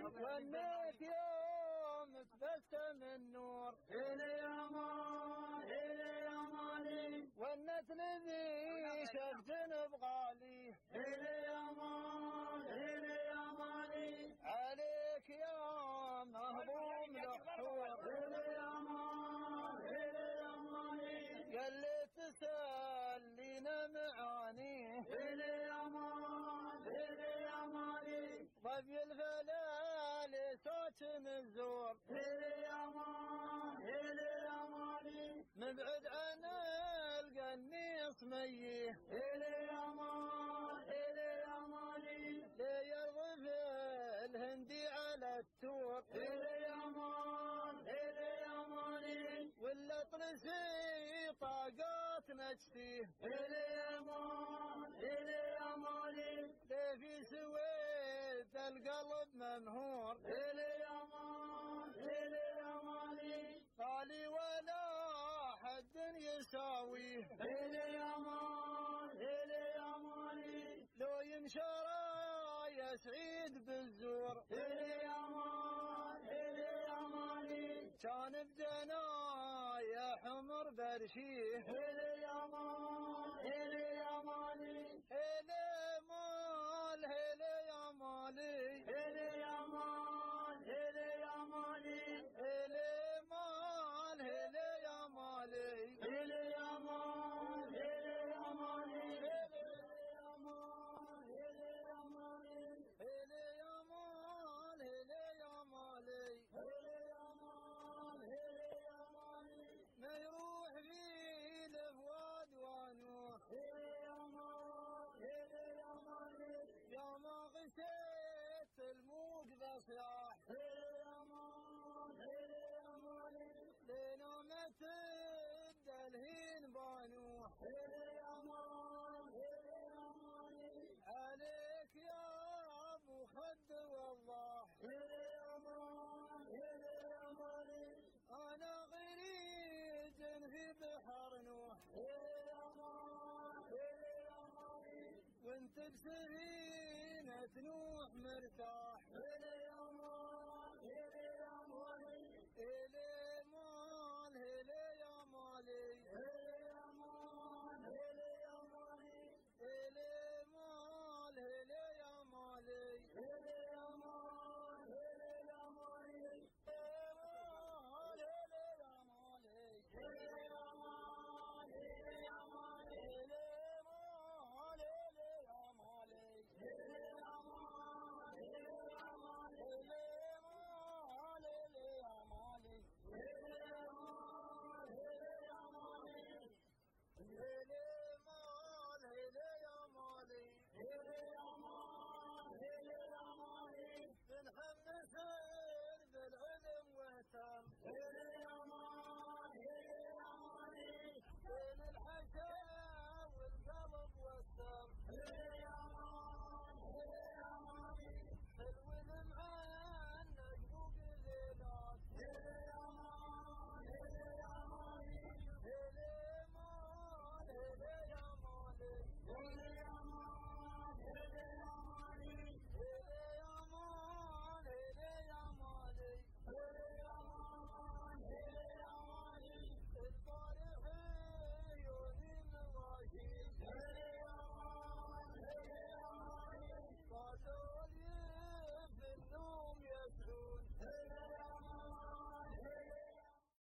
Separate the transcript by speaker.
Speaker 1: جنة يوم تبسم النور
Speaker 2: إلي أمان إلي أماني
Speaker 1: والناس لذي شفت بغالي
Speaker 2: إلي أمان إلي أماني
Speaker 1: عليك يا مهضوم الحور
Speaker 2: إلي أمان إلي أماني
Speaker 1: قال لي تسلينا معانيه
Speaker 2: إلي أمان إلي أماني
Speaker 1: ضبي الفلال طيب صوت الزور
Speaker 2: إلي أمان إلي أماني
Speaker 1: مبعد عن القنيص ميه
Speaker 2: إلي أمان إلي أماني
Speaker 1: لا يرضف الهندي على التور
Speaker 2: إلي أمان إلي أماني
Speaker 1: ولا طرسي طاقات نجسيه
Speaker 2: إلي أمان إلي أماني
Speaker 1: لا في سويد القلب منهور
Speaker 2: إلي أمان إلي أماني
Speaker 1: قالي ولا حد يساويه
Speaker 2: إلي أمان إلي أماني
Speaker 1: لو ينشر يا سعيد بالزور
Speaker 2: إلي أمان إلي أماني
Speaker 1: كان بجنايا حمر برشيه
Speaker 2: إلي أمان إلي أماني
Speaker 1: هلا مال هلا يا مالي
Speaker 2: إلي أمان إلي أماني
Speaker 1: هلا مال هلا يا مالي
Speaker 2: إلي أمان إلي أماني
Speaker 1: هلا يا مال هلا يا مالي ما يروح في الفواد ونوح يا ما غشيت الموجبة صياح لنا ما تد الهين بانوح عليك يا ابو خد والله انا غريج في بحر نوح وانت بسفينة نوح مرتاح